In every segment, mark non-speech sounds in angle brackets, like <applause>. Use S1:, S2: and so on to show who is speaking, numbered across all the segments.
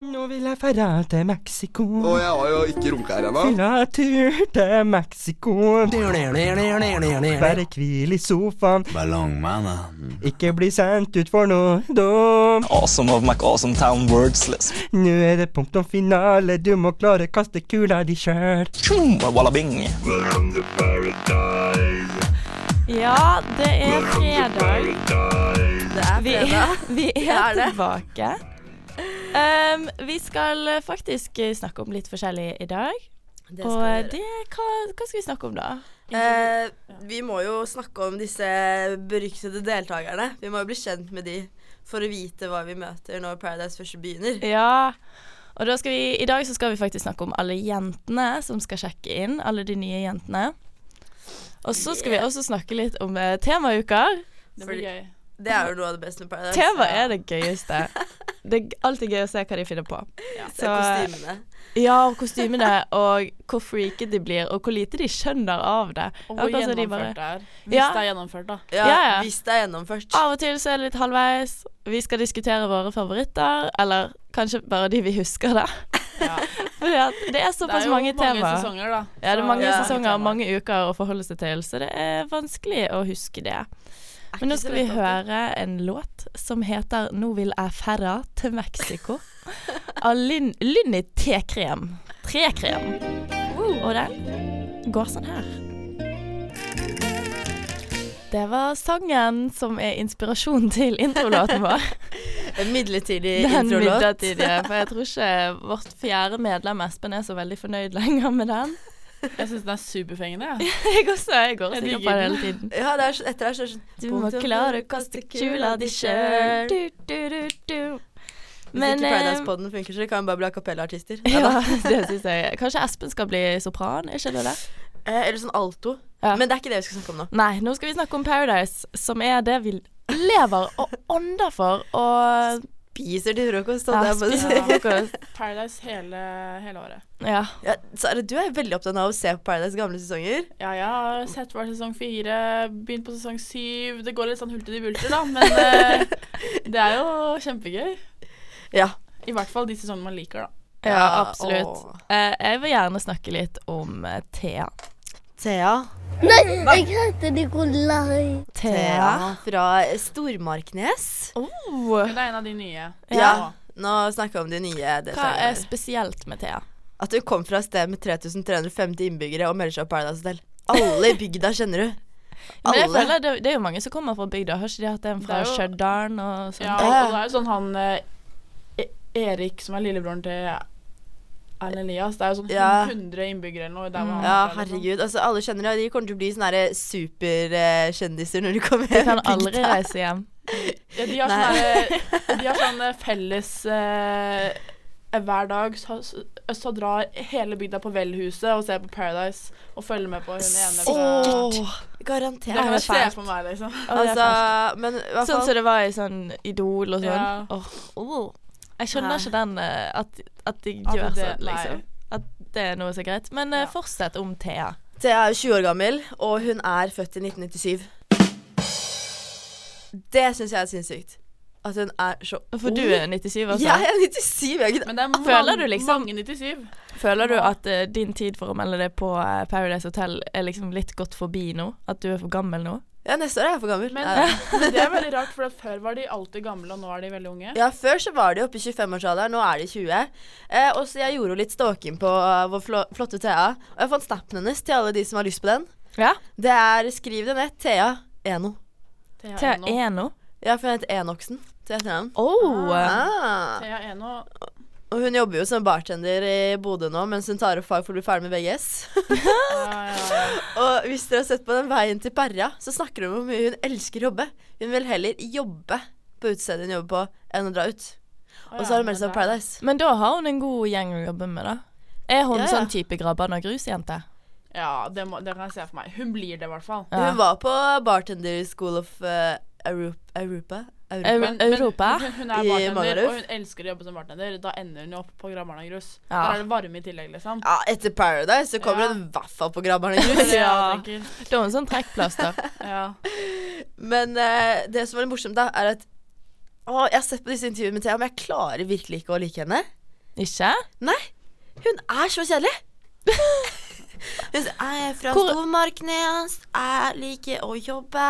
S1: Nå vil jeg færa til Mexico.
S2: Og jeg har jo ikke runka her ennå.
S1: Fylla tur til Mexico. Bare hvil i sofaen,
S2: Ballongmannen.
S1: ikke bli sendt ut for noe dum.
S3: Awesome of Mac Awesome Town words list.
S1: Nå er det punktum finale, du må klare å kaste kula di sjøl.
S3: Tjum, Wallabing.
S4: Ja, det er fredag.
S5: Det er
S4: Vi er,
S5: fredag.
S4: <laughs> vi
S5: Det
S4: er
S5: er det.
S4: tilbake. Um, vi skal faktisk snakke om litt forskjellig i dag.
S5: Det skal vi
S4: Og
S5: gjøre.
S4: det, hva, hva skal vi snakke om da?
S5: Eh, vi må jo snakke om disse beryktede deltakerne. Vi må jo bli kjent med de for å vite hva vi møter når Paradise først begynner.
S4: Ja, og da skal vi, i dag så skal vi faktisk snakke om alle jentene som skal sjekke inn, alle de nye jentene. Og så skal vi også snakke litt om eh, temauker.
S5: Det blir gøy. Det er jo noe av det beste med Paradise.
S4: Tema er det
S5: <laughs>
S4: gøyeste. Det er alltid gøy å se hva de finner på.
S5: Det er kostymene.
S4: Ja, og kostymene, og hvor freaky de blir, og hvor lite de skjønner av det.
S6: Og
S4: Akkurat
S6: hvor
S4: som de
S6: gjennomført
S4: bare-
S6: det er. Hvis
S4: Ja.
S6: det er gjennomført, da.
S5: Ja,
S4: Ja, Ah, ja.
S5: Hvis det er gjennomført.
S4: Av og til så er det litt halvveis. Vi skal diskutere våre favoritter, eller kanskje bare de vi husker, da.
S6: Ja.
S4: <laughs> Fordi at det er såpass mange
S6: mange
S4: temaer.
S6: sesonger, da.
S4: Ja, det er mange
S5: Ja.
S4: sesonger
S6: temaer.
S4: og mange uker å forholde seg til, så det er vanskelig å huske det.
S5: Er
S4: Men nå
S5: ikke så
S4: skal vi
S5: lett alltid.
S4: høre en låt som heter 'Nå vil jeg ferra til Mexico' av Lyn- Lynni Tekrem. Trekrem. Og den går sånn her. Det var sangen som er inspirasjonen til introlåten vår. <laughs>
S5: En midlertidig
S4: Den
S5: introlåt.
S4: midlertidige, for jeg tror ikke vårt fjerde medlem Espen er så veldig fornøyd lenger med den.
S6: Jeg syns den er superfengende, jeg.
S4: <laughs> Jeg også, jeg går og
S6: Jeg
S4: synger på
S6: digger
S4: den
S6: den.
S4: hele tiden.
S5: <laughs> Ja, det er, så- etter det er det sånn
S4: Du må klare å kaste kula di sjøl. Men
S5: Men Hvis ikke
S4: eh,
S5: Paradise-poden funker, så kan vi bare bli a
S4: <laughs>
S5: cappella-artister. Ja,
S4: ja,
S5: da.
S4: det syns jeg. Kanskje Espen skal bli sopran? Er ikke det det?
S5: Eh, Eller sånn alto.
S4: Ja.
S5: Men det er ikke det vi skal snakke om nå.
S4: Nei, nå skal vi snakke om Paradise, som er det vi lever og ånder for. Og
S5: Spiser til frokost. holdt
S4: ja,
S5: jeg på å si.
S4: Ah, spiser frokost.
S6: Paradise hele, hele året.
S4: Ja.
S5: Ja, Sara, du er veldig opptatt av å se på Paradise gamle sesonger.
S6: Ja, jeg har sett hver sesong fire, begynt på sesong syv. Det går litt sånn hulter til bulter,
S4: <laughs>
S6: da, men eh, det er jo kjempegøy.
S5: Ja.
S6: I hvert fall de sesongene man liker, da.
S4: ja,
S5: Ja,
S4: absolutt.
S5: åh.
S4: Eh, jeg vil gjerne snakke litt om eh, Thea.
S5: Thea.
S7: Nei, jeg heter Nikolai.
S5: Thea fra Stormarknes.
S4: Oh.
S6: Men det er en av de nye.
S5: Ja. Nå snakker vi om de nye
S4: Hva er
S5: deltakerne.
S4: spesielt med Thea?
S5: At du kom fra et sted med 3350 innbyggere og melder seg på Paradise Hotel. Alle i bygda kjenner du.
S4: Men jeg
S5: Alle.
S4: føler det, det er jo mange som kommer fra bygda. Har ikke de hatt en fra
S6: Det er jo-
S4: Stjørdal og sånn?
S6: Ja, og, og det er jo sånn han eh, E- Erik, som er lillebroren til Erlend Elias, det er jo sånn
S5: Ja.
S6: 100 innbyggere eller noe. Der
S4: Mm.
S6: hvor han
S5: Ja,
S6: er fra, liksom.
S5: herregud. Altså, alle kjenner deg. De kommer til å bli sånne her eh, superkjendiser når de kommer
S4: De
S5: hjem.
S4: kan
S5: i bygda.
S4: aldri reise hjem.
S6: Ja, de har
S5: Nei.
S6: sånn De har sånn eh, felles eh, Hver dag så, så, så drar hele bygda på Velhuset og ser på Paradise og følger med på hun ene fra
S5: Åh,
S6: Det
S5: garantert.
S6: kan jeg se for meg, liksom.
S4: Å, det er
S5: Altså,
S4: fælt.
S5: men i hvert
S4: sånn
S5: fall
S4: som det var i sånn Idol og sånn.
S6: Ja.
S4: Åh, åh. Jeg skjønner
S5: Nei.
S4: ikke den eh, at, at de
S6: At
S4: gjør
S6: det-
S4: sånn,
S6: nei.
S4: liksom. At det er noe så greit. Men eh,
S6: Ja.
S4: fortsett om Thea.
S5: Thea er 20 år gammel, og hun er født i 1997. Det syns jeg er sinnssykt. At hun er så
S4: For du
S5: ung.
S4: er 97, altså.
S5: Jeg er 97, jeg er ikke det.
S6: Men det er
S4: Føler
S6: mange-
S4: du liksom-
S6: mange 97.
S4: Føler du at eh, din tid for å melde deg på eh, Paradise Hotel er liksom litt gått forbi nå? At du er for gammel nå?
S5: Ja, neste år er jeg for gammel.
S6: Men
S5: Nei, nei.
S6: men det er veldig rart, for at før var de alltid gamle, og nå er de veldig unge.
S5: Ja, Før så var de oppe i 25-årsalderen, nå er de 20. Eh, og så Jeg gjorde jo litt stalking på eh, vår flå- flotte Thea. Og jeg fant snappen hennes til alle de som har lyst på den.
S4: Ja.
S5: Det er Skriv det ned. Thea Eno.
S6: Thea
S4: Thea
S6: Eno.
S4: Eno.
S5: Ja, for hun heter Enoksen. Til etternavn.
S4: Oh.
S5: Ah.
S6: Thea Eno
S5: Og hun jobber jo som bartender i Bodø nå mens hun tar opp fag for å bli ferdig med VGS.
S6: ja, ja, ja.
S5: Og hvis dere har sett på den veien til Perra, så snakker hun om hvor mye hun elsker å jobbe. Hun vil heller jobbe på utestedet hun jobber på, enn å dra ut. Og så har hun meldt seg på Paradise.
S4: Men da har hun en god gjeng å jobbe med, da. Er hun
S5: Ja, ja.
S4: sånn type grabban og grusjente?
S6: Ja, det, må, det kan jeg se for meg. Hun blir det, i hvert fall.
S4: Ja.
S5: Hun var på Bartender School of eh, Eru- Europa. Europa.
S4: Euro- Europa?
S6: hun, hun
S5: I
S6: er bartender,
S5: Magaluf?
S6: og hun elsker å jobbe som bartender. Da ender hun jo opp på Grabbarna grus.
S4: Ja.
S6: Der er det varme i tillegg, liksom.
S5: Ja, etter Paradise så kommer
S6: Ja.
S5: hun i hvert fall på Grabberne grus.
S6: Det er det jeg
S4: <laughs> Ja.
S6: tenker.
S4: Da er hun sånn trekkplaster. <laughs>
S6: ja.
S5: Men eh, det som var litt morsomt, da, er at å, Jeg har sett på disse intervjuene med Thea, men jeg klarer virkelig ikke å like henne.
S4: Ikke?
S5: Hun er så <laughs> kjedelig. Hun sier jeg er fra
S4: Hvor-
S5: Stormarknes, jeg liker å jobbe,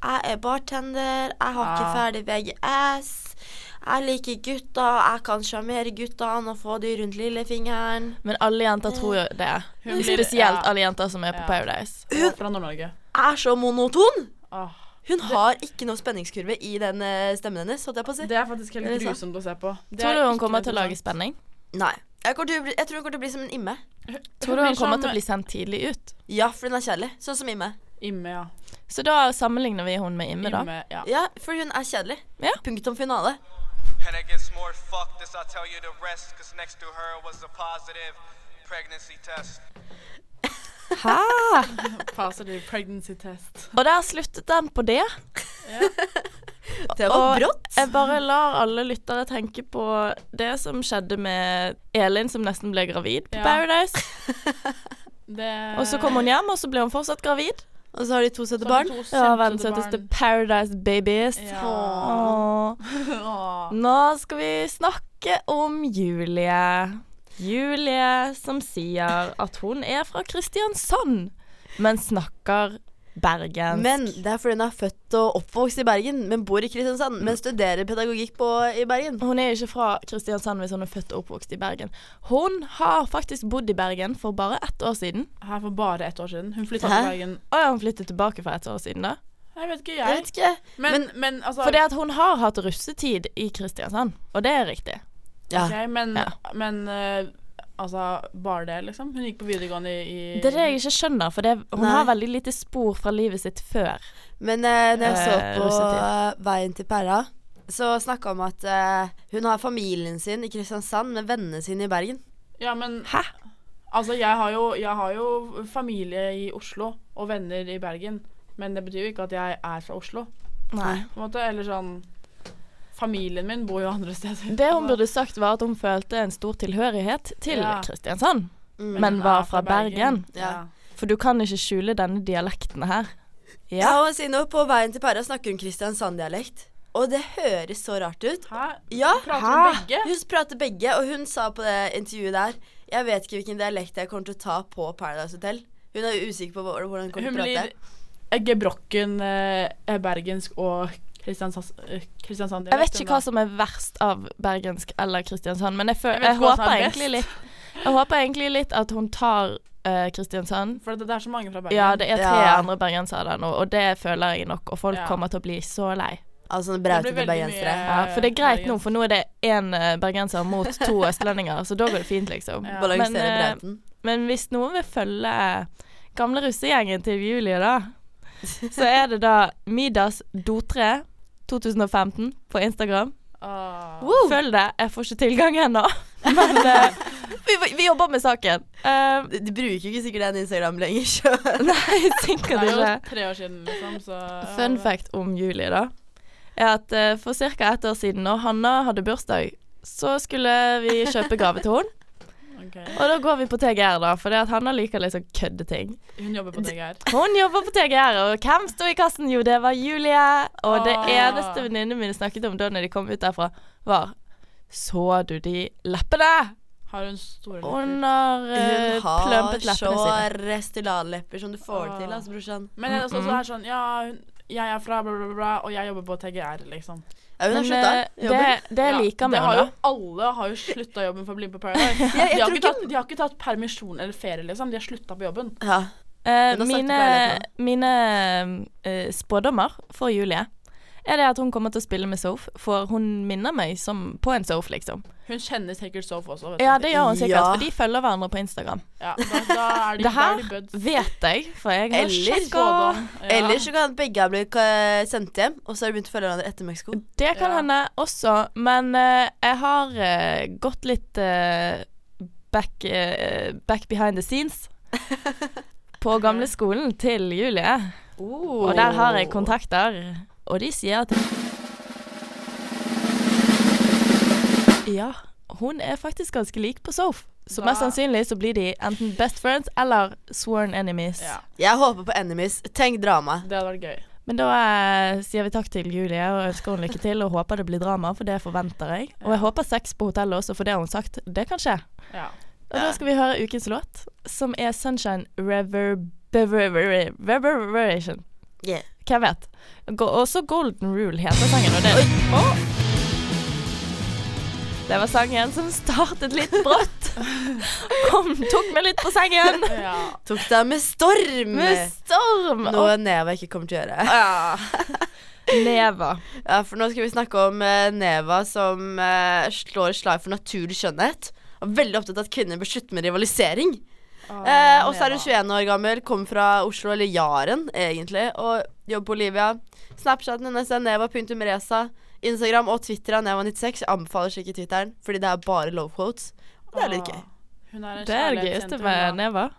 S5: jeg er bartender, jeg har ikke ferdig VGS. Jeg liker gutta, jeg kan sjarmere gutta og få de rundt lillefingeren.
S4: Men alle jenter tror jo det.
S6: Hun blir-
S4: Spesielt
S6: ja.
S4: alle jenter som er på
S6: Ja.
S4: Paradise.
S6: Hun er fra Nord-Norge.
S5: Jeg er så monoton!
S6: Åh.
S5: Hun har ikke noe spenningskurve i den eh, stemmen hennes, holdt jeg på å si.
S6: Det er faktisk
S5: Er det
S6: helt
S5: sant?
S6: grusomt å se på. Det
S4: Tror
S6: er
S4: du hun
S6: ikke
S4: kommer til å lage
S6: interessant.
S4: spenning?
S5: Nei. Jeg, kommer til å bli, jeg tror hun kommer til å bli som en imme.
S4: Tror du hun
S6: blir sånn
S4: kommer
S6: som-
S4: til å bli sendt tidlig ut?
S5: Ja, for hun er kjedelig. Sånn som Imme.
S6: Imme, ja.
S4: Så da sammenligner vi hun med Imme, da.
S6: Imme, ja.
S5: Ja, for hun er kjedelig.
S4: Ja.
S5: Punktum finale.
S8: And it gets more fucked as I tell you the rest, cause next to her was a positive pregnancy test.
S6: Positive pregnancy test.
S4: Og der sluttet den på det.
S5: Det
S4: Og
S5: var brått.
S4: jeg bare lar alle lyttere tenke på det som skjedde med Elin som nesten ble gravid på
S6: Ja. Eh.
S4: Paradise.
S6: Det
S4: Og så kom hun hjem, og så ble hun fortsatt gravid.
S5: Og så har de to søte
S6: Så har
S5: barn.
S6: de to
S4: Ja, verdens
S6: søte
S4: søteste
S6: barn.
S4: Paradise Babies.
S6: Ja.
S4: Åh.
S6: Åh.
S4: Nå skal vi snakke om Julie. Julie som sier at hun er fra Kristiansand, men snakker bergensk.
S5: Men det er fordi hun er født og oppvokst i Bergen, men bor i Kristiansand.
S4: Mm.
S5: Men studerer pedagogikk på, i Bergen.
S4: hun er ikke fra Kristiansand hvis hun er født og oppvokst i Bergen. Hun har faktisk bodd i Bergen for bare ett år siden.
S6: Her for bare ett år siden. Hun flytta
S5: Hæ?
S6: til Bergen
S4: Og ja, hun flyttet tilbake for ett år siden, da.
S6: Jeg vet ikke,
S5: Jeg
S6: jeg.
S5: vet ikke.
S6: Men, men, altså
S4: Fordi at hun har hatt russetid i Kristiansand, og det er riktig.
S5: Ja.
S6: ok, Men,
S4: Ja.
S6: men eh, altså Bare det, liksom? Hun gikk på videregående i, i
S4: Det er det jeg ikke skjønner, for det, hun
S5: Nei.
S4: har veldig lite spor fra livet sitt før.
S5: Men eh, når jeg så
S4: Eh,
S5: på
S4: russetid.
S5: eh, Veien til Perra, så snakka hun om at eh, hun har familien sin i Kristiansand, men vennene sine i Bergen.
S6: Ja, men
S4: Hæ?
S6: Altså, jeg har, jo, jeg har jo familie i Oslo og venner i Bergen. Men det betyr jo ikke at jeg er fra Oslo.
S4: Nei.
S6: På en måte, Eller sånn Familien min bor jo andre steder. Altså,
S4: Det hun burde sagt, var at hun følte en stor tilhørighet til
S6: Ja.
S4: Kristiansand.
S5: Mm.
S4: Men var fra Bergen.
S5: Ja.
S4: For du kan ikke skjule denne dialekten her.
S5: Ja,
S4: Ja.
S5: og si nå på Veien til Perra snakker hun kristiansanddialekt. Og det høres så rart ut.
S6: Hæ?
S5: Ja,
S6: Prater hun
S5: hæ?
S6: begge?
S5: Hun prater begge, og hun sa på det intervjuet der Jeg vet ikke hvilken dialekt jeg kommer til å ta på Paradise Hotel. Hun er usikker på hvor- hvordan hun kommer
S6: Hun
S5: til å prate.
S6: blir eh, gebrokken eh, bergensk og Kristiansand eh, Kristiansand-dialekt,
S4: Jeg vet ikke
S6: hun da.
S4: hva som er verst av bergensk eller Kristiansand, men jeg, føl
S6: Jeg
S4: jeg,
S6: vet ikke hva som
S4: håper,
S6: er best.
S4: egentlig litt, jeg håper egentlig litt at hun tar eh, Kristiansand.
S6: For det, det er så mange fra Bergen.
S4: Ja, det er tre
S5: Ja.
S4: andre bergensere der nå, og det føler jeg nok, og folk
S6: Ja.
S4: kommer til å bli så lei.
S5: Av sånne
S6: Det
S5: brautete
S6: blir veldig
S5: sånn bergensere.
S6: mye-
S4: Ja, for det er greit nå,
S6: Bergens.
S4: for nå er det én eh, bergenser mot to østlendinger, så da går det fint, liksom.
S6: Ja.
S5: Balansere
S4: Men, eh,
S5: brauten.
S4: Men hvis noen vil følge gamle russegjengen til Julie, da, så er det da Midas Dotre 2015 på Instagram.
S6: Ah.
S4: Følg det. Jeg får ikke tilgang ennå, men eh, <laughs> vi, vi- vi jobber med saken. Eh, <laughs>
S5: De de bruker jo ikke sikkert den Instagram lenger, så
S4: nei,
S6: Det
S4: sikkert
S6: er jo
S4: ikke.
S6: tre år siden, liksom, så ja,
S4: Fun
S6: det-
S4: fact om Julie, da, er at eh, for ca. ett år siden, når Hanna hadde bursdag, så skulle vi kjøpe gave til henne.
S6: ok.
S4: Og da går vi på TGR, da, for det at Hanna liker litt sånn køddeting.
S6: Hun jobber på TGR.
S4: Hun jobber på TGR, og hvem sto i kassen? Jo, det var Julie. Og det
S6: Åh.
S4: eneste venninnene mine snakket om da når de kom ut derfra, var Så du de leppene?
S6: Har hun store
S4: Hun
S6: lepper?
S4: har eh,
S5: Hun har
S4: plømpet leppene
S5: så
S4: sine.
S5: restylanlepper som du får det til,
S6: Ah.
S5: altså, brorsan.
S6: Men det er også
S4: mm.
S6: også her sånn Ja, hun, jeg er fra bla, bla, bla, bla, og jeg jobber på TGR, liksom.
S5: Ja, hun har
S4: Men
S5: slutta
S4: eh, det,
S5: jobben.
S4: det
S6: Ja,
S4: liker vi
S6: det har
S4: jo,
S6: jo,
S4: da.
S6: Alle har jo slutta jobben for å bli
S4: <laughs>
S6: med på Paradise.
S5: jeg
S6: de, har
S5: tror
S6: ikke tatt, de har ikke tatt permisjon eller ferie, liksom. De har slutta på jobben.
S5: Ja.
S4: Eh,
S5: Hun har sagt det på
S4: mine
S5: leiligheten
S4: mine eh, spådommer for Julie er det at hun kommer til å spille med Soph, for hun minner meg som, på en Soph, liksom.
S6: Hun kjenner sikkert Soph også, vet du.
S4: Ja, det gjør hun sikkert,
S5: Ja.
S4: for de følger hverandre på Instagram.
S6: Ja, da, da er de,
S4: Det
S6: da er
S4: her
S6: de buds.
S4: vet jeg, for jeg har
S5: Eller
S4: sjekka.
S6: Spådom. Ja.
S5: Eller så kan begge ha blitt eh, sendt hjem, og så har de begynt å følge hverandre etter Mexico.
S4: Det kan
S6: Ja.
S4: hende også, men eh, jeg har eh, gått litt eh, back, eh, back behind the scenes
S6: <laughs>
S4: på gamleskolen til Julie.
S6: Oh.
S4: Og der har jeg kontakter, og de sier at Ja, hun er faktisk ganske lik på Soph. Så
S6: Da-
S4: mest sannsynlig så blir de enten best friends eller sworn enemies.
S6: Ja.
S5: Jeg håper på Enemies. Tenk drama.
S6: Det hadde vært gøy.
S4: Men da eh, sier vi takk til Julie og ønsker henne lykke til og håper det blir drama, for det forventer jeg. Og jeg håper sex på hotellet også, for det har hun sagt. Det kan skje.
S6: Ja.
S4: Og da skal vi høre ukens låt, som er 'Sunshine Reverberation'. Reverberation.
S5: Yeah.
S4: Hvem vet? Go også 'Golden Rule' heter sangen, og det Å! Det var sangen som startet litt brått. Kom, tok meg litt på sengen.
S6: ja.
S5: Tok deg med storm!
S4: Med storm
S5: Noe
S4: og
S5: Neva ikke kommer til å
S4: Ah,
S5: gjøre.
S4: never.
S5: <laughs> Ja, for nå skal vi snakke om eh, Neva som eh, slår slag for naturlig skjønnhet. Og veldig opptatt av at kvinner bør slutte med rivalisering.
S4: Ah,
S6: Ah.
S5: Eh, og så er hun 21 år gammel, kommer fra Oslo, eller Jaren egentlig, og jobber på Olivia. Snapchaten hennes er neva.resa. Instagram og Twitter er neva96. Jeg anbefaler å sjekke Twitteren, fordi det er bare love quotes. Og det er litt
S4: Ah.
S5: gøy.
S6: Hun er en
S4: Det er det
S6: kjærlighetssenter,
S4: gøyeste
S6: hun
S4: med
S6: da.
S4: never.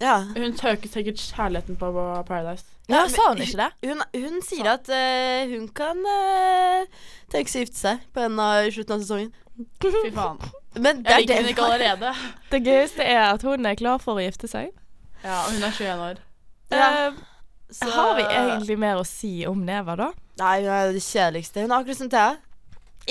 S5: Ja.
S6: Hun søker sikkert kjærligheten på Paradise.
S4: Ja,
S5: men-
S4: sa hun ikke det?
S5: <laughs> Hun, hun sier at eh, hun kan eh, tenke seg å gifte seg på en av i slutten av sesongen.
S6: Fy faen.
S5: Men det
S6: Jeg
S5: er
S6: liker
S5: det
S6: henne ikke allerede.
S4: Det gøyeste er at hun er klar for å gifte seg.
S6: <laughs> Ja, og hun er 21 år.
S5: Ja,
S4: Eh, Har vi egentlig mer å si om Neva, da?
S5: Nei, hun er det kjedeligste. Hun er akkurat som Thea.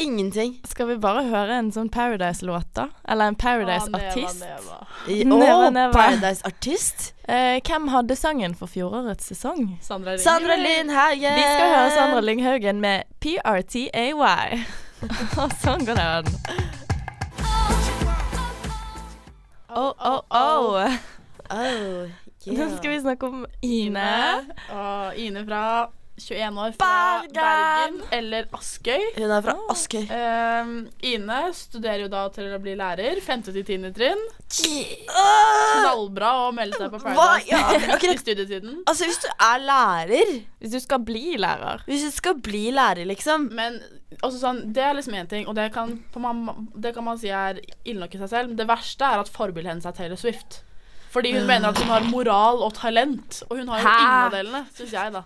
S5: Ingenting.
S4: Skal vi bare høre en sånn Paradise-låt, da? Eller en Paradise-artist?
S6: Ah, Neva, Neva.
S5: I-
S4: Neva,
S5: Å,
S4: neva.
S5: Paradise-artist.
S4: Eh, hvem hadde sangen for fjorårets sesong?
S6: Sandra Ring.
S5: Sandra Linn Haugen.
S4: Vi skal høre Sandra Lynghaugen med PRTAY. <laughs> Og sånn går den. Oh, oh, oh.
S5: Oh,
S4: Nå
S5: yeah.
S4: skal vi snakke om
S6: Ine.
S4: Ine.
S6: Og Ine fra 21 år fra
S5: Bergen!
S6: Bergen, eller Askøy.
S5: Hun er fra Askøy.
S6: Ehm, Ine studerer jo da til å bli lærer. 5. til 10. trinn.
S5: Åh!
S6: Knallbra å melde seg på
S5: Hva?
S6: Paradise
S5: Ja, ok, ok.
S6: <laughs> i studietiden.
S5: Altså, hvis du er lærer
S4: Hvis du skal bli lærer.
S5: Hvis du skal bli lærer, liksom
S6: Men også sånn, det er liksom én ting, og det kan, på man, det kan man si er ille nok i seg selv. Men det verste er at forbildet hennes er Taylor Swift. Fordi hun mener at hun har moral og talent, og hun har jo
S4: Hæ?
S6: ingen av delene, syns jeg, da.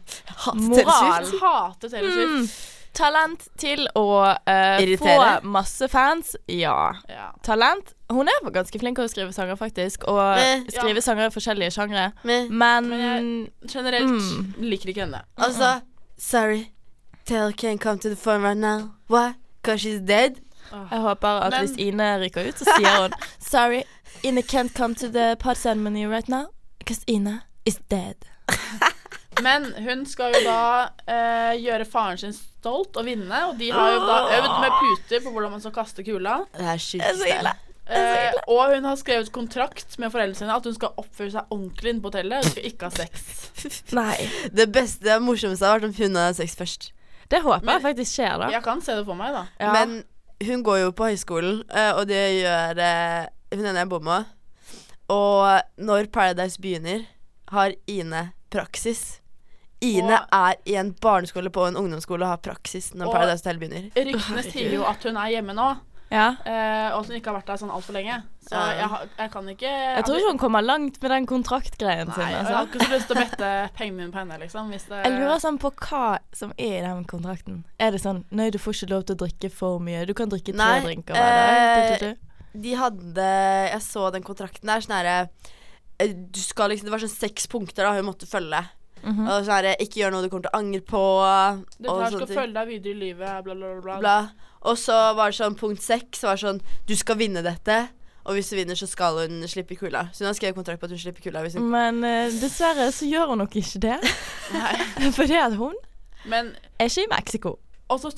S4: Moral.
S6: Hun hater Taylor Swift.
S4: Mm. Talent til å eh, få
S5: Irritere?
S4: masse fans. Ja.
S6: Ja.
S4: Talent. Hun er ganske flink til å skrive sanger, faktisk. Og
S5: Eh, ja. Mm.
S4: skrive sanger i forskjellige sjangre.
S5: Men
S4: Men,
S6: Men Generelt
S4: Mm.
S6: liker ikke henne.
S5: altså Sorry. Taylor can't come to the phone right now. Why? Cause she's dead?
S4: jeg håper at
S6: Men-
S4: hvis Ine ryker ut, så sier hun Sorry, Ine can't come to the pod ceremony right now Because Ine is dead.
S6: Men hun skal jo da eh, gjøre faren sin stolt og vinne, og de har jo da
S4: Ah.
S6: øvd med puter på hvordan man skal kaste kula.
S5: Det er sjukeste.
S6: Eh, og hun har skrevet kontrakt med foreldrene sine at hun skal oppføre seg ordentlig inne på hotellet. Hun skal ikke ha sex.
S4: Nei.
S5: <laughs> Det beste det morsomste hadde vært om hun hadde sex først.
S4: Det håper
S6: Men-
S4: jeg faktisk skjer, da.
S6: Jeg kan se det for meg, da.
S4: Ja.
S5: Men hun går jo på høyskolen, eh, og det gjør eh, hun ene jeg bor med. Og når Paradise begynner, har Ine praksis. Ine
S6: Og-
S5: er i en barneskole på en ungdomsskole og har praksis når
S6: Og-
S5: Paradise Hotel begynner.
S6: Ryktene sier jo at hun er hjemme nå,
S4: ja.
S6: eh, og at hun ikke har vært der sånn altfor lenge. Så
S5: Ja.
S6: jeg, har- jeg kan ikke
S4: Jeg tror ikke hun kommer langt med den kontraktgreien
S6: Nei,
S4: sin.
S6: jeg
S4: Altså.
S6: har ikke så lyst til å bette pengene mine på henne, liksom. Hvis det,
S4: Jeg lurer sånn på hva som er i den kontrakten. Er det sånn Nei, du får ikke lov til å drikke for mye. Du kan drikke tre
S5: Nei,
S4: drinker hver dag. Du, du, du.
S5: De hadde Jeg så den kontrakten der. Sånn herre eh, Du skal liksom Det var sånn seks punkter da hun måtte følge. Og sånn herre Ikke gjør noe du kommer til å angre på.
S6: Dette
S5: og
S6: her
S5: sånne
S6: skal
S5: ting.
S6: følge deg videre i livet, bla, bla, bla. bla.
S5: bla. Og så var det sånn punkt seks var sånn Du skal vinne dette. Og hvis du vinner, så skal hun slippe kula. Så hun har skrevet kontrakt på at hun slipper kula.
S6: Mm.
S5: Hvis hun
S4: Men eh, dessverre så gjør hun nok ikke det. <laughs> Fordi at hun
S6: Men
S4: er ikke i Mexico.
S6: også,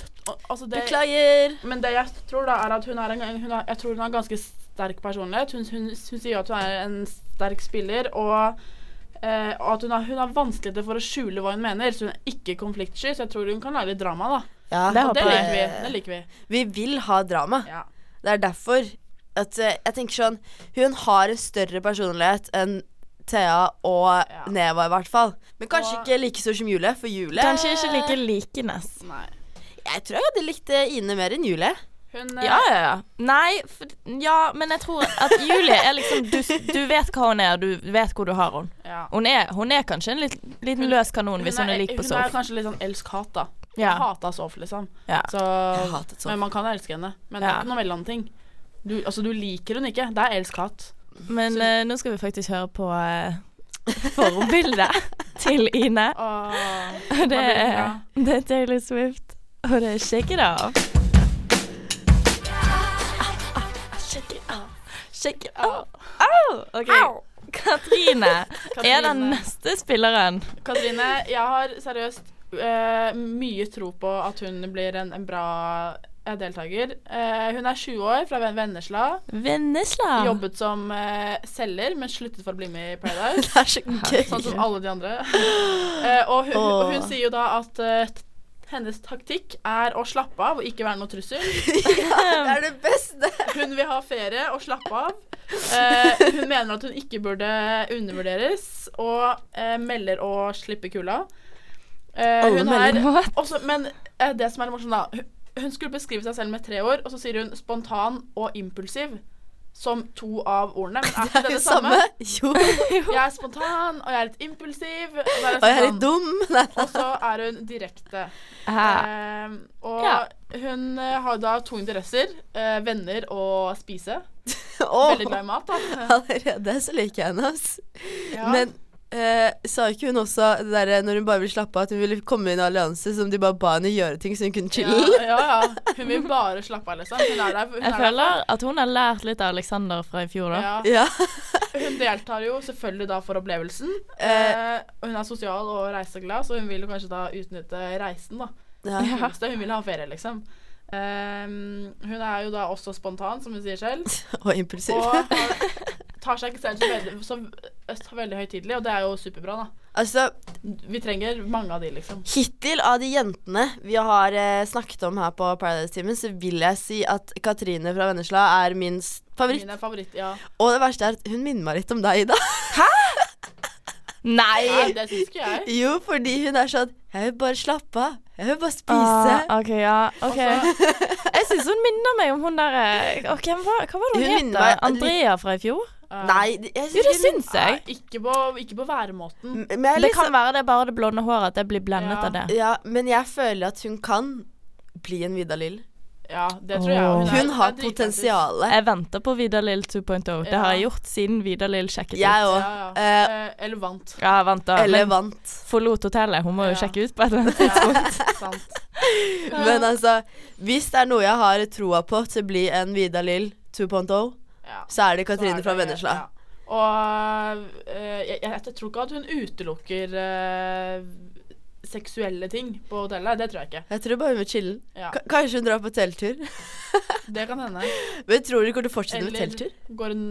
S6: altså det,
S5: Beklager!
S6: Men det jeg tror, da, er at hun er en, hun er, jeg tror hun har en ganske sterk personlighet. Hun, hun, hun sier jo at hun er en sterk spiller, og, eh, og at hun har, hun har vanskeligheter for å skjule hva hun mener. Så hun er ikke konfliktsky, så jeg tror hun kan lage litt drama, da.
S5: Ja,
S4: Det
S6: Og det
S4: håper
S6: liker vi. Det liker vi.
S5: vi vil ha drama.
S6: Ja.
S5: Det er derfor at eh, jeg tenker sånn Hun har en større personlighet enn Thea og
S6: Ja.
S5: Neva, i hvert fall. Men kanskje
S6: Og-
S5: ikke like stor som Julie, for Julie
S4: Kanskje ikke like likenes.
S6: Nei.
S5: Jeg tror jeg hadde likt eh, Ine mer enn Julie.
S6: Hun, eh,
S4: Ja, ja, ja. Nei, for, ja, men jeg tror at Julie er liksom du, du vet hva hun er, og du vet hvor du har henne.
S6: ja.
S4: Hun er, hun er kanskje en litt, liten løs kanon hvis hun er lik på
S6: hun er
S4: Sof.
S6: kanskje litt sånn elsk-hat, da. Hun
S4: Ja.
S6: Hata Sof, liksom.
S4: Ja.
S6: Så,
S5: Jeg hatet sånn.
S6: men man kan elske henne. Men det
S4: Ja.
S6: er ikke noe mellomting. Du, altså, du liker hun
S4: <laughs>
S6: ikke. Det er elsk-hat.
S4: Men eh, nå skal vi faktisk høre på eh, forbildet til Ine.
S6: Åh,
S4: Det
S6: bra.
S4: er, <laughs> det er Taylor Swift, og det er Shake It Off.
S5: Shake it up.
S4: Shake It Off. Au! Oh, Ok. <laughs> Katrine er den
S6: Katrine.
S4: neste spilleren.
S6: Katrine, jeg har seriøst eh, mye tro på at hun blir en, en bra eh, deltaker. Eh, hun er 20 år, fra Ven- Vennesla.
S4: Vennesla.
S6: Jobbet som eh, selger, men sluttet for å bli med i Paradise.
S5: <laughs> Det er så
S6: Sånn som
S5: gøy.
S6: alle de andre. <laughs> Eh, og, hun, og hun
S5: Åh.
S6: sier jo da at eh, t- hennes taktikk er å slappe av og ikke være noe
S5: <laughs>
S6: trussel.
S5: Det er det beste.
S6: Hun vil ha ferie og slappe av. Eh, hun mener at hun ikke burde undervurderes, og eh, melder å slippe kulda. Eh,
S4: Alle
S6: hun
S4: melder
S6: er
S4: what?
S6: også, Men eh, det som er morsomt, da hun- Hun skulle beskrive seg selv med tre ord, og så sier hun spontan og impulsiv som to av ordene. Men er ikke
S5: <laughs>
S6: det det samme?
S5: Jo.
S6: Jeg er spontan, og jeg er litt impulsiv. Og, da er
S5: Og
S6: det
S5: jeg er
S6: sånn,
S5: litt dum. <laughs> Nei.
S6: og så er hun direkte.
S4: Hæ?
S6: Eh, og
S4: Ja.
S6: hun eh, har da to interesser. Eh, venner og spise.
S5: Åh,
S6: Veldig glad i mat, da.
S5: <laughs> allerede så liker jeg henne, ass.
S6: Ja.
S5: Men eh, sa ikke hun også det derre når hun bare ville slappe av, at hun ville komme i en allianse som de bare ba henne gjøre ting, så hun kunne
S6: ja,
S5: chille?
S6: ja, ja. Hun vil bare slappe av, liksom. Hun er der. Hun,
S4: Jeg
S6: er der.
S4: føler at hun har lært litt av Alexander fra i fjor, da.
S6: Ja.
S5: <laughs> Ja.
S6: Hun deltar jo selvfølgelig da for opplevelsen. Eh, og hun er sosial og reiseglad, så hun vil jo kanskje da utnytte reisen, da.
S5: Ja. <laughs>
S6: Det kuleste. Hun vil ha ferie, liksom. Eh, hun er jo da også spontan, som hun sier selv.
S5: Og <laughs> impulsiv.
S6: Og har, tar seg ikke selv så veldig, så, så veldig høytidelig, og det er jo superbra, da.
S5: Altså,
S6: Vi trenger mange av de, liksom.
S5: hittil av de jentene vi har eh, snakket om her på Paradise-timen, så vil jeg si at Katrine fra Vennesla er min s- favoritt.
S6: Mine favoritt, ja.
S5: Og det verste er at hun minner meg litt om deg, Ida.
S6: Nei,
S5: E-
S4: Nei!
S6: det syns ikke jeg.
S5: <laughs> Jo, fordi hun er sånn Jeg vil bare slappe av. Jeg vil bare spise.
S4: Ah, OK, ja. OK. Altså- <laughs> Jeg syns hun minner meg om hun der eh, og hvem var, Hva var det hun
S5: Hun
S4: het?
S5: minner meg
S4: da? Andrea fra i fjor?
S6: Eh,
S5: E- Nei, det- jeg
S4: Jo, det
S5: synes hun-
S4: syns jeg.
S6: nei, ikke på, ikke på væremåten.
S5: M- Men jeg,
S4: Det
S5: liksom,
S4: kan være det er bare det blonde håret, at jeg blir blendet
S6: Ja.
S4: av det.
S5: ja, men jeg føler at hun kan bli en Vidar Lill.
S6: Ja, det tror jeg.
S4: Åh.
S6: er-
S5: Hun har
S6: er dritkul.
S5: potensialet.
S4: Jeg venter på Vidar-Lill 2.0. oh. Det har jeg gjort siden Vidar-Lill sjekket
S5: Jeg
S4: ut.
S5: òg.
S6: Ja, ja.
S5: Eh,
S6: Eh, eller vant.
S4: Ja, vent da.
S5: eller
S4: Men
S5: vant.
S4: forlot hotellet. Hun må jo
S6: Ja.
S4: sjekke ut på et eller annet.
S6: Ja, sant.
S5: Men altså, hvis det er noe jeg har troa på til å bli en Vidar Lill 2.0,
S6: Ja.
S5: <laughs> så er det Katrine
S6: Så er
S5: fra
S6: det-
S5: Vennesla.
S6: ja. Og eh, jeg, jeg, jeg tror ikke at hun utelukker eh, seksuelle ting på hotellet. Det tror jeg ikke.
S5: Jeg tror bare hun vil chille.
S6: Ja,
S5: Ka- Kanskje hun drar på telttur. <laughs>
S6: det kan hende.
S5: Men tror du ikke hun fortsetter med telttur?
S6: Eller går en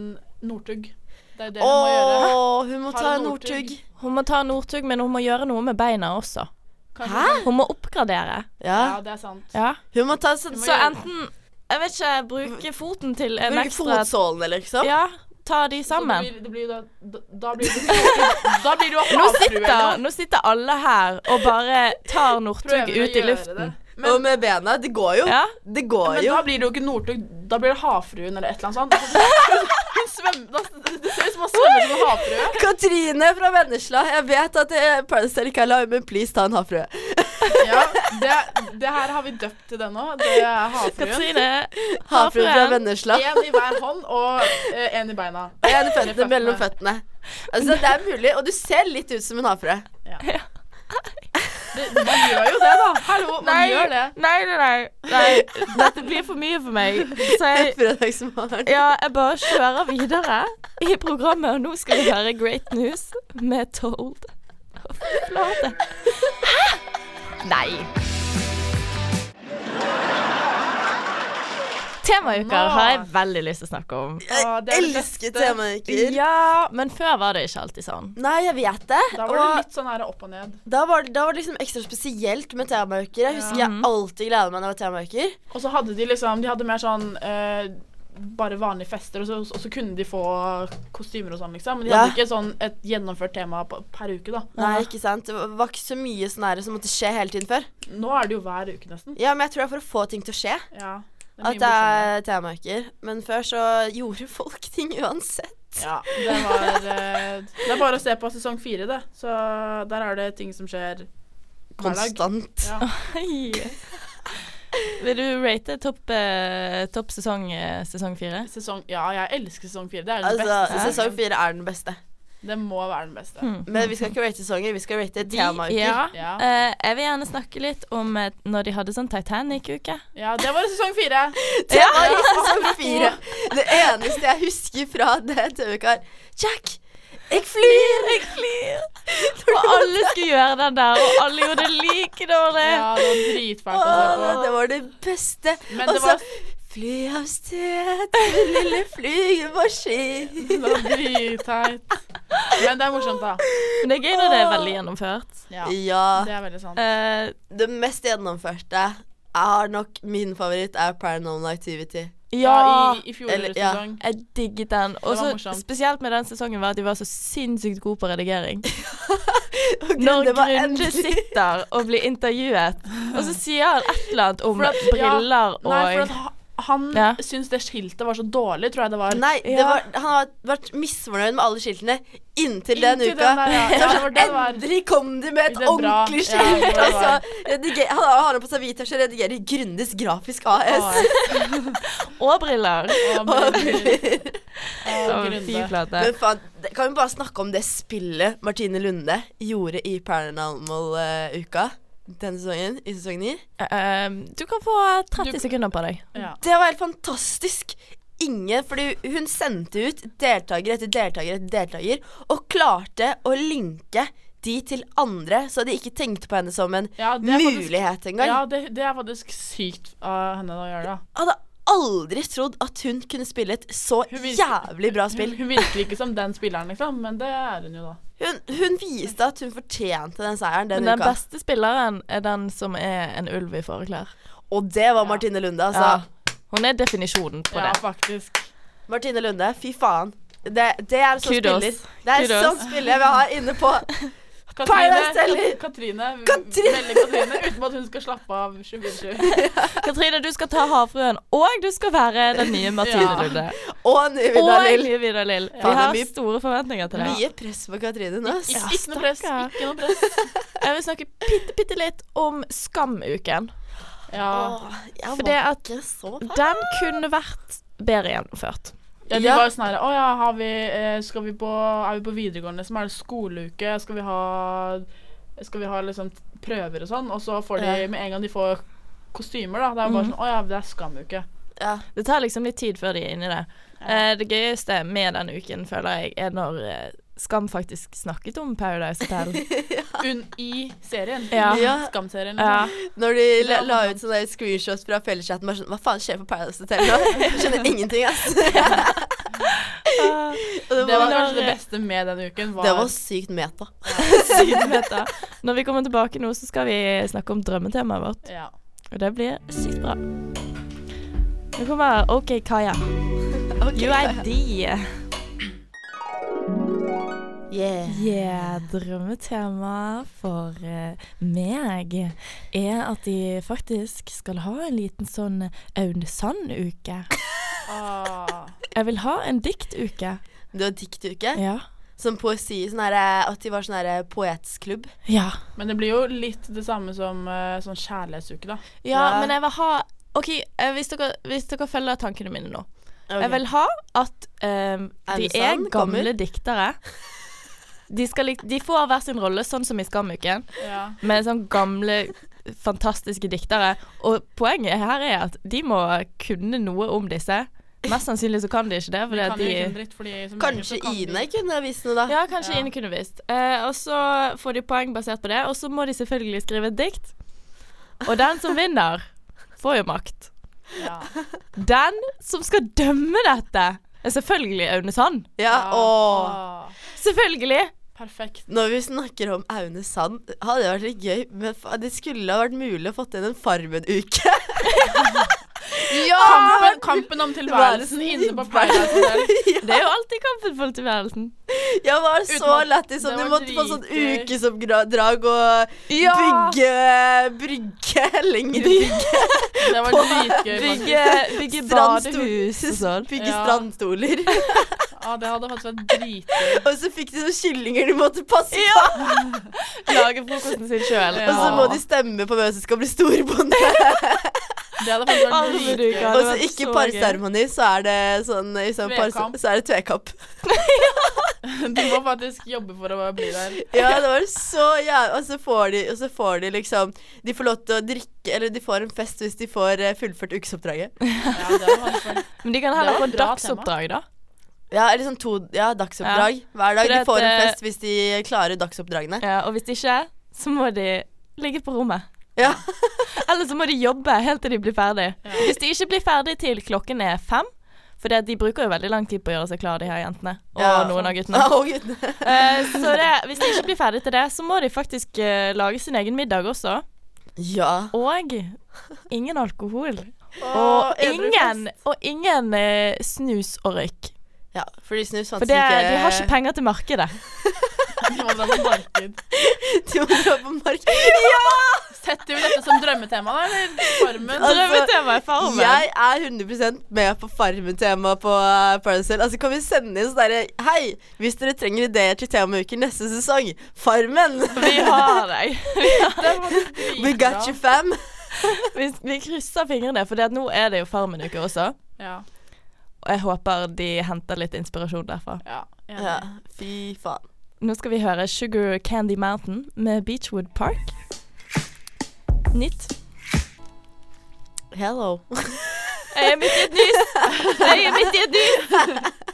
S6: Northug. Det er det hun må gjøre.
S5: Åh, hun må
S6: Ta
S5: ta
S6: en
S5: Northug.
S6: Northug.
S4: <laughs> Hun må ta Northug, men hun må gjøre noe med beina også.
S6: Kanskje
S4: Hun må oppgradere.
S5: Ja.
S6: Ja, det er sant.
S4: Ja.
S5: Hun må ta sånn
S6: Hun må
S4: Så
S5: så
S6: gjøre-
S4: enten Jeg vet ikke, bruke foten til en
S5: Bruke
S4: ekstra
S5: fotsålene, liksom.
S4: Ja, ta de
S6: Så
S4: sammen.
S6: Det blir, det blir da, da, da blir du Da
S5: <laughs>
S6: blir du
S4: Nå
S6: havfrue eller
S4: sitter,
S6: noe.
S4: nå sitter alle her og bare tar Northug
S6: Prøver å
S4: ut i
S6: gjøre
S4: luften.
S6: det.
S5: Og
S6: Men,
S5: med bena. Det går jo.
S4: Ja.
S5: Det går
S6: men
S5: jo.
S6: da blir det jo ikke Northug, da blir det havfruen eller et eller annet sånt. <laughs> Altså, Hun svømmer da, Det ser ut som hun svømmer som en havfrue.
S5: Katrine fra Vennesla. Jeg vet at eh, Paradise Hotel ikke er live, men please ta en havfrue.
S6: Ja, det, det her har vi døpt til det nå. Det er havfruen.
S4: Katrine,
S5: Havfrue fra
S4: Havfruen.
S5: Vennesla.
S6: Én i hver hånd og én i beina.
S5: Og en i føttene
S6: føttene.
S5: mellom føttene. Altså, det er mulig, og du ser litt ut som en havfrue.
S6: Det, man gjør jo det, da. Hallo, man
S4: Nei.
S6: gjør det.
S4: Nei, nei, nei, nei. Dette blir for mye for meg. Så
S6: Eh,
S4: jeg,
S5: Fredagsmorgen.
S4: ja, jeg bare kjører videre i programmet, og nå skal vi høre Great News med Told. Fy flate. Hæ? Nei. Temauker har jeg veldig lyst til å snakke om.
S6: Å,
S5: Jeg
S6: det er det
S5: elsker
S6: beste.
S5: temauker.
S4: Ja, men før var det ikke alltid sånn.
S5: Nei, jeg vet det.
S6: Da var det
S5: Og
S6: litt sånn her opp og ned.
S5: da var, det- da var det liksom ekstra spesielt med temauker. Jeg husker jeg alltid gleda meg når det var temauker.
S6: Og så hadde de liksom De hadde mer sånn eh, bare vanlige fester, og så, og så kunne de få kostymer og sånn, liksom. Men de
S5: Ja.
S6: hadde ikke sånn et gjennomført tema på, per uke, da.
S5: Nei, ikke sant. Det var ikke så mye sånn her som måtte skje hele tiden før.
S6: Nå er det jo hver uke, nesten.
S5: Ja, men jeg tror det er for å få ting til å skje
S6: Ja. Det
S5: at det er temauker. Men før så gjorde folk ting uansett.
S6: Ja, det var eh, Det er bare å se på sesong fire, det. Så der er det ting som skjer. Hverdag.
S5: Konstant.
S6: Ja.
S4: Hei. Vil du rate topp eh, topp sesong eh, sesong fire?
S6: Sesong Ja, jeg elsker sesong fire. Det er den
S5: Altså,
S6: beste.
S5: sesong fire er den beste.
S6: Det må være den beste.
S4: Hm.
S5: Men vi skal ikke rate sanger, vi skal rate
S4: De-
S5: temauker. <laughs>
S4: Ja.
S6: Ja.
S4: Eh, jeg vil gjerne snakke litt om eh, når de hadde sånn Titanic-uke.
S6: Ja, det var sesong fire.
S5: <laughs> Det var i sesong fire. Det eneste jeg husker fra det TV-uka, er Jack, jeg flyr, jeg flyr.
S4: Og alle skulle gjøre den der, og alle gjorde det like dårlig.
S6: Ja, det var dritfælt å se
S5: Åh,
S6: på.
S5: det var det beste.
S6: Men
S5: Og
S6: det
S5: så
S6: var-
S5: fly av sted til den lille flygemaskin.
S6: Det var dritteit. Men det er morsomt, da.
S4: Men det er gøy når det er veldig gjennomført.
S6: Ja,
S5: Ja.
S6: det er veldig sant.
S4: Eh,
S5: Det mest gjennomførte jeg har nok Min favoritt er Paranormal Activity.
S4: ja,
S6: i, i fjor
S5: Eller- ja.
S6: sesong.
S4: jeg digget den. Og
S6: Det var
S4: så
S6: morsomt.
S4: spesielt med den sesongen var at de var så sinnssykt gode på redigering.
S6: <laughs>
S5: Og
S4: Når
S5: det var
S4: Grunde
S5: endelig-
S4: sitter og blir intervjuet, og så sier han et eller annet om
S6: For at- ja,
S4: briller og
S6: Nei, for at ha- han
S4: Ja.
S6: syntes det skiltet var så dårlig, tror jeg det var.
S5: Nei, det
S4: Ja.
S5: var, han har vært misfornøyd med alle skiltene inntil den
S6: Inntil
S5: uka.
S6: den der, ja. Ja, det var det det var.
S5: Endelig kom de med et
S6: Det er bra.
S5: ordentlig
S6: Ja, det
S5: skilt! altså.
S6: var
S5: og
S6: det
S5: så rediger, han har han på seg hvit tøfse og redigerer Grundes Grafisk AS.
S4: Og briller.
S6: Og
S5: <laughs>
S6: briller. Og
S4: Og fy
S6: Grunde.
S4: flate.
S5: Men faen, det- kan vi bare snakke om det spillet Martine Lunde gjorde i Paranormal-uka? Denne sesongen, i sesong 9.
S4: Eh, du kan få 30 sekunder på deg.
S6: Ja.
S5: Det var helt fantastisk. Ingen, fordi hun sendte ut deltaker etter deltaker etter deltaker, og klarte å linke de til andre, så de ikke tenkte på henne som en
S6: Ja, det er faktisk-
S5: mulighet engang.
S6: Ja, det, det er faktisk sykt av henne å gjøre, da.
S5: Jeg hadde aldri trodd at hun kunne spille et så
S6: Hun vis-
S5: jævlig bra
S6: Hun,
S5: spill.
S6: hun virker ikke som den spilleren, liksom, men det er hun jo, da.
S5: Hun, hun viste at hun fortjente den seieren den,
S4: Men den
S5: uka.
S4: beste spilleren er den som er en ulv i fåreklær.
S5: Og det var Martine Lunde, altså.
S4: Ja. Hun er definisjonen på
S6: Ja,
S4: det.
S6: faktisk.
S5: Martine Lunde, fy faen. Det, det er sånn
S4: Kudos.
S5: spiller. Det er
S4: Kudos.
S5: sånn spiller vi har inne på Paradise
S6: Katrine,
S5: Teller!
S6: Katrine,
S5: Katrine!
S6: veldig Katrine, uten at hun skal slappe av 24-7.
S4: Katrine, du skal ta Havfruen, og du skal være den nye Mathilde
S6: Ja.
S4: Lunde.
S5: Og ny
S4: Og
S5: Vidar Lill.
S4: nye Vidar Lill. Vi
S5: Faen, det er
S4: har
S5: mye-
S4: store forventninger til deg.
S5: Mye press på Katrine nå. ass.
S6: Ikke, ikke noe press.
S4: stakkar.
S6: Ikke noe press.
S4: Jeg vil snakke bitte, bitte litt om Skamuken.
S6: Ja.
S5: Åh, jeg
S4: For
S5: var
S4: det at
S5: ikke så
S4: den kunne vært bedre gjennomført.
S6: ja, de
S5: Ja.
S6: var jo sånn her Å ja, har vi, eh, skal vi på, er vi på videregående, liksom? Er det skoleuke? Skal vi ha Skal vi ha liksom prøver og sånn? Og så får de,
S5: Ja.
S6: med en gang de får kostymer, da, det er jo bare sånn Å ja, det er skamuke.
S5: ja.
S4: Det tar liksom litt tid før de er inni det. Eh, Det gøyeste med den uken, føler jeg, er når eh, Skam faktisk snakket om Paradise Hotel.
S6: Un I serien.
S4: Ja.
S5: Ja.
S6: Skamserien.
S4: Ja.
S6: Liksom.
S5: Når de la, la ut sånne der screenshots fra felleschatten bare sånn Hva faen skjer på Paradise Hotel <laughs> nå? Jeg skjønner ingenting, ass. <laughs> Og
S6: Det var kanskje det beste med den uken. Var,
S5: Det var sykt meta.
S4: <laughs> Siden dette. Når vi kommer tilbake nå, så skal vi snakke om drømmetemaet vårt.
S6: ja.
S4: Og det blir sykt bra. Nå kommer OK <laughs> Kaja. UID.
S5: Yeah.
S4: Yeah, drømmetema for eh, meg er at de faktisk skal ha en liten sånn Aunesand-uke.
S6: Ah.
S4: Jeg vil ha en diktuke.
S5: Det var diktuke.
S4: Ja.
S5: Sånn poesi. Sånn herre At de var sånn herre poetsklubb.
S4: Ja.
S6: Men det blir jo litt det samme som eh, sånn kjærlighetsuke, da.
S5: Ja.
S4: men jeg vil ha OK, eh, hvis dere, hvis dere følger tankene mine nå. Jeg vil ha at eh, de er
S5: Aunesand kommer.
S4: gamle diktere. De, skal, lik- de får hver sin rolle, sånn som i Skamuken.
S6: Ja.
S4: med sånn gamle, fantastiske diktere. Og poenget her er at de må kunne noe om disse. Mest sannsynlig så kan de ikke det.
S6: Vi
S4: Fordi
S6: kan
S4: at
S6: jo ikke en
S4: de
S6: dritt, fordi som
S5: Kanskje
S6: regel så kan vi-
S5: Ine kunne vist noe, da.
S4: ja, kanskje Ine kunne visst. Eh, og så får de poeng basert på det, og så må de selvfølgelig skrive et dikt. Og den som vinner, får jo makt.
S6: Ja.
S4: Den som skal dømme dette, er selvfølgelig Aune Sand.
S5: Ja, åh.
S6: Ah,
S4: Selvfølgelig!
S6: Perfekt.
S5: Når vi snakker om Aune Sand, hadde det vært litt gøy, men fa- det skulle ha vært mulig å fått inn en Farmen-uke.
S6: Kampen, kampen om tilværelsen inne på Paradise
S5: <laughs>
S6: Hotel.
S4: Det er jo alltid kampen for tilværelsen.
S5: Jeg var
S6: Uten
S5: så
S6: at-
S5: lættis om
S6: det
S5: de
S6: var
S5: måtte få sånn
S6: dritgøy.
S5: ukesoppdrag og bygge brygge <laughs> lenger bygge,
S6: Det var dritgøy. faktisk.
S4: Bygge, bygge
S5: strandstol-
S4: badehus og
S5: <laughs>
S4: sånn.
S5: bygge
S6: Ja.
S5: strandstoler. <laughs>
S6: Ah, det hadde faktisk vært dritgøy.
S5: Og så fikk de sånne kyllinger de måtte passe på,
S4: Lage frokosten sin sjøl.
S5: og så må de stemme på hvem som skal bli storbonde.
S6: Det hadde faktisk vært
S4: Alle du
S6: dritgøy.
S4: kan.
S5: <laughs> Og
S4: det
S5: så
S4: var
S5: ikke
S4: så gøy.
S5: parseremoni, så er det sånn i sånn par,
S6: Tvekamp.
S5: Så er det tvekamp.
S6: Du må faktisk jobbe for å bli der.
S5: <laughs> Ja, det var så jævlig. Og så får de, og så får de liksom De får lov til å drikke, eller de får en fest hvis de får eh, fullført ukesoppdraget.
S6: Ja, det er vanskelig.
S4: Men de kan heller
S6: Det
S4: få
S6: var et bra
S4: dagsoppdrag, da.
S5: Ja, eller sånn to ja, dagsoppdrag hver dag.
S4: For
S5: De
S4: at,
S5: får en
S4: eh,
S5: fest hvis de klarer dagsoppdragene.
S4: Ja, og hvis ikke, så må de ligge på rommet.
S5: Ja.
S4: <laughs> Eller så må de jobbe helt til de blir ferdig. Hvis de ikke blir ferdig til klokken er fem, for det, at de bruker jo veldig lang tid på å gjøre seg klare, de her jentene. Og
S5: Ja.
S4: noen av
S5: <laughs>
S4: guttene.
S5: Ja, og guttene.
S4: Eh, så det, hvis de ikke blir ferdig til det, så må de faktisk eh, lage sin egen middag også.
S5: Ja.
S4: Og ingen alkohol.
S6: Og
S4: Og
S6: edru
S4: ingen,
S6: fest.
S4: og ingen eh, snus og røyk.
S5: ja. Fordi snus
S4: For
S5: fantes
S4: det,
S5: ikke
S4: de har ikke penger til <laughs> markedet.
S6: Du må dra på marked.
S5: <laughs> De må dra på markedet.
S6: Setter vi dette som drømmetema, da? Eller Farmen?
S5: Altså,
S4: <laughs> Drømmetema er farmen.
S5: Jeg er 100 med på Farmen-tema på eh, Paradise Hotel. Altså, kan vi sende inn sånn derre Hei, hvis dere trenger ideer til temauker neste sesong, Farmen!
S4: <laughs> Vi har deg.
S6: Det var dritbra.
S5: <laughs> We got you, fam.
S4: Vi, vi krysser fingrene, for nå er det jo Farmen-uke også.
S6: Ja.
S4: Og jeg håper de henter litt inspirasjon derfra.
S6: ja, enig.
S5: Ja, fy faen.
S4: Nå skal vi høre Sugar Candy Mountain med Beachwood Park. Nytt.
S5: Hello. <laughs>
S4: Jeg er midt i et <laughs> nys! Jeg er midt i et nys!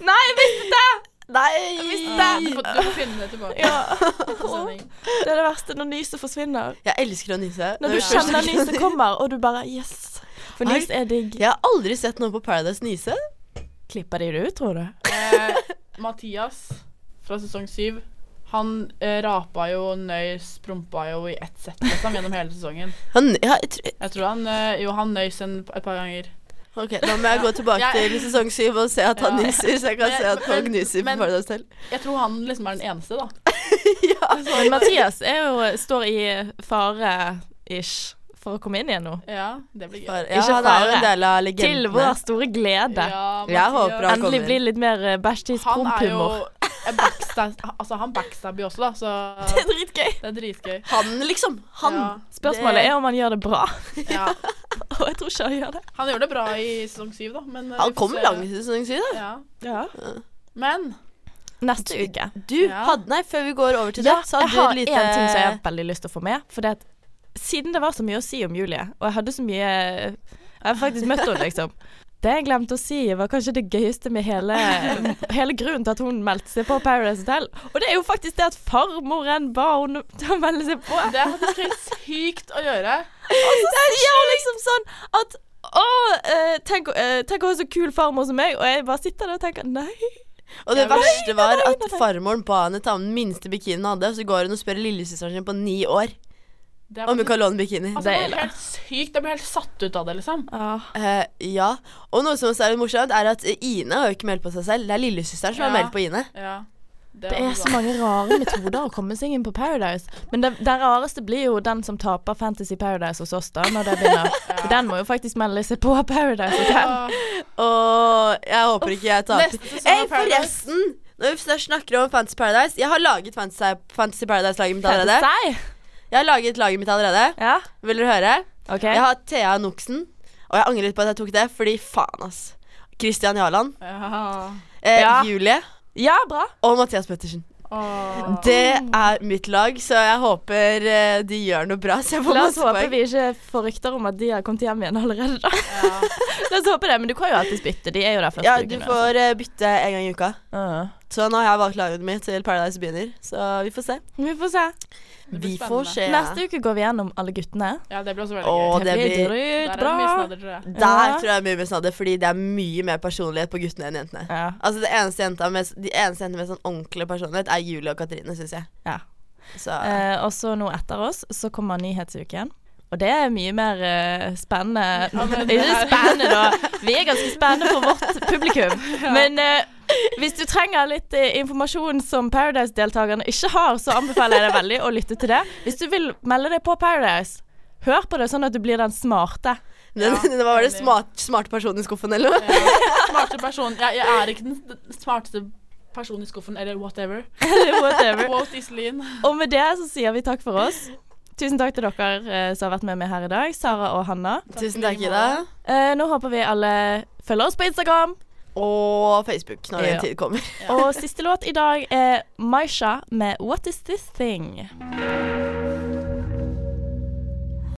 S4: Nei, jeg mistet det!
S6: Du
S5: Nei!
S6: får, du får finne det tilbake. Sånn,
S4: Ja.
S6: Neste sending.
S4: Det er det verste når nyset forsvinner.
S5: Jeg elsker å nyse.
S4: Når du
S5: Det er det
S4: <laughs> kjenner
S5: første.
S4: nyset
S5: <laughs>
S4: kommer, og du bare Yes! For nys er digg.
S5: Jeg har aldri sett noen på Paradise nyse.
S4: Klipper de det ut, tror du?
S6: Eh, Mathias fra sesong syv, han eh, rapa jo, nøy, sprumpa jo i ett sett liksom, gjennom hele sesongen.
S5: Han, ja, jeg tror,
S6: Jeg tror han eh, Jo, han nøys en, et par ganger.
S5: ok, Da må jeg gå tilbake
S6: Jeg-
S5: til sesong syv og se at han
S6: Ja.
S5: nyser, så jeg kan
S6: Men-
S5: se at folk
S6: men-
S5: nyser på
S6: men-
S5: Paradise <laughs> Hotel.
S6: Jeg tror han liksom er den eneste, da.
S4: Men Mathias er jo, står i fare-ish for å komme inn igjen nå.
S6: Ja, det blir gøy.
S5: Bare-
S4: Ikke
S5: Ja, han er jo
S4: fare.
S5: en del av
S4: Til vår
S5: legenden.
S4: store glede.
S6: Ja,
S5: Jeg håper
S6: Mathias.
S5: han
S4: Endelig
S5: kommer.
S4: blir det litt mer eh, bæsjtids
S6: Han er jo
S4: prompehumor.
S6: eh, backstab, altså, han backstabber jo også, da,
S4: <laughs>
S5: <laughs>
S4: Det
S6: så
S4: er dritgøy.
S6: det er dritgøy.
S5: Han, liksom. Han.
S6: Ja,
S4: Spørsmålet er om han gjør det bra. <laughs>
S6: ja.
S4: Og jeg tror ikke han gjør det.
S6: Han gjorde det bra i sesong syv, da, men eh, vi
S5: Han
S6: får
S5: kom
S6: se.
S5: langt i sesong syv, da.
S6: Ja. Men
S4: Neste uke.
S5: Du
S6: Ja.
S5: hadde Nei, før vi går over til
S4: Ja,
S5: det, så
S4: jeg
S5: hadde du
S4: har
S5: et
S4: én
S5: lite
S4: ting som jeg har veldig lyst til å få med. For det at siden det var så mye å si om Julie, og jeg hadde så mye Jeg har faktisk møtt henne,
S5: <laughs>
S4: liksom. Det jeg glemte å si, var kanskje det gøyeste med hele, hele grunnen til at hun meldte seg på Paradise Hotel. Og det er jo faktisk det at farmoren ba henne til å melde seg på.
S6: det er faktisk helt sykt å gjøre.
S4: Så sier hun liksom sånn at å, eh, tenk, eh, tenk å ha så kul farmor som meg. Og jeg bare sitter der og tenker nei.
S5: Og det
S6: Jeg vet-
S5: verste var
S4: nei,
S5: at
S4: nei.
S5: farmoren ba henne ta med den minste bikinien hun hadde, og så går hun og spør lillesøsteren sin på ni år
S6: Det er
S5: om hun
S6: faktisk,
S5: kan låne bikini.
S6: altså, det er helt sykt. Jeg blir helt satt ut av det, liksom.
S5: Eh, ja. Og noe som også er litt morsomt, er at Ine har jo ikke meldt på seg selv. Det er lillesøsteren som har
S6: Ja.
S5: meldt på Ine.
S6: Ja.
S4: Det er så mange rare metoder å komme seg inn på Paradise. Men det, det rareste blir jo den som taper Fantasy Paradise hos oss, da, når det begynner. For den må jo faktisk melde seg på Paradise Hotel.
S5: Og jeg håper ikke jeg taper.
S6: Neste sesong
S5: Hey,
S6: av Paradise.
S5: forresten! Når vi først snakker om Fantasy Paradise Jeg har laget Fantasy, Fantasy Paradise-laget mitt allerede.
S4: Fantasy?
S5: Jeg har laget laget mitt allerede.
S4: Ja.
S5: Vil dere høre?
S4: OK.
S5: Jeg har Thea Noksen, og jeg angrer litt på at jeg tok det, fordi faen, ass. Christian Jarland,
S6: Ja.
S5: eh,
S4: Ja.
S5: Julie
S4: Ja, bra.
S5: og Mathias Pettersen.
S6: Åh.
S5: Det
S4: Oh.
S5: er mitt lag, så jeg håper eh, de gjør noe bra. Så jeg får
S4: La oss
S5: masse
S4: håpe
S5: poeng.
S4: vi ikke får rykter om at de har kommet hjem igjen allerede, da.
S6: Ja.
S4: <laughs> La oss håpe det, men du kan jo alltids bytte. De er jo der første
S5: Ja,
S4: uken
S5: du
S4: uansett.
S5: får eh, bytte en gang i uka.
S4: Ja.
S5: Så nå har jeg valgt laget mitt til Paradise begynner, så vi får se.
S4: Vi får se.
S6: blir
S5: Vi
S6: spennende.
S5: får se.
S4: Neste uke går vi gjennom alle guttene.
S6: ja, det blir også veldig
S5: Åh,
S6: gøy.
S5: Og det blir-
S6: Der er det
S4: dritbra.
S6: mye snadder, tror jeg.
S5: Der
S4: Ja.
S5: tror jeg er mye mer snadder, fordi det er mye mer personlighet på guttene enn jentene.
S4: Ja.
S5: Altså, det eneste jenta med, De eneste jentene med sånn ordentlig personlighet er Julie og Katrine, syns jeg.
S4: Ja.
S5: Så
S4: Eh, og så nå etter oss så kommer nyhetsuken. Og det er mye mer eh, spennende
S6: Ja,
S4: <laughs>
S6: men det
S4: Ikke
S6: er-
S4: spennende, da. Vi er ganske spennende for vårt publikum.
S6: <laughs>
S4: Men eh, hvis du trenger litt eh, informasjon som Paradise-deltakerne ikke har, så anbefaler jeg deg veldig å lytte til det. Hvis du vil melde deg på Paradise, hør på det sånn at du blir den smarte.
S6: <laughs>
S5: det, <laughs>
S6: ja,
S5: det var det
S6: enig.
S5: smart, smarte personen i skuffen, eller noe?
S6: Ja. Smarte person. Jeg, jeg er ikke den smarteste personen i skuffen, eller whatever.
S4: Whatever.
S6: Walt Iselin.
S4: Og med det så sier vi takk for oss. Tusen takk til dere eh, som har vært med meg her i dag, Sara og Hanna.
S5: Tusen
S6: i
S5: takk,
S6: like
S5: Ida.
S4: Eh, nå håper vi alle følger oss på Instagram.
S5: og Facebook når
S4: Ja.
S5: den tid kommer.
S4: Og siste låt i dag er Maisha med What Is This Thing.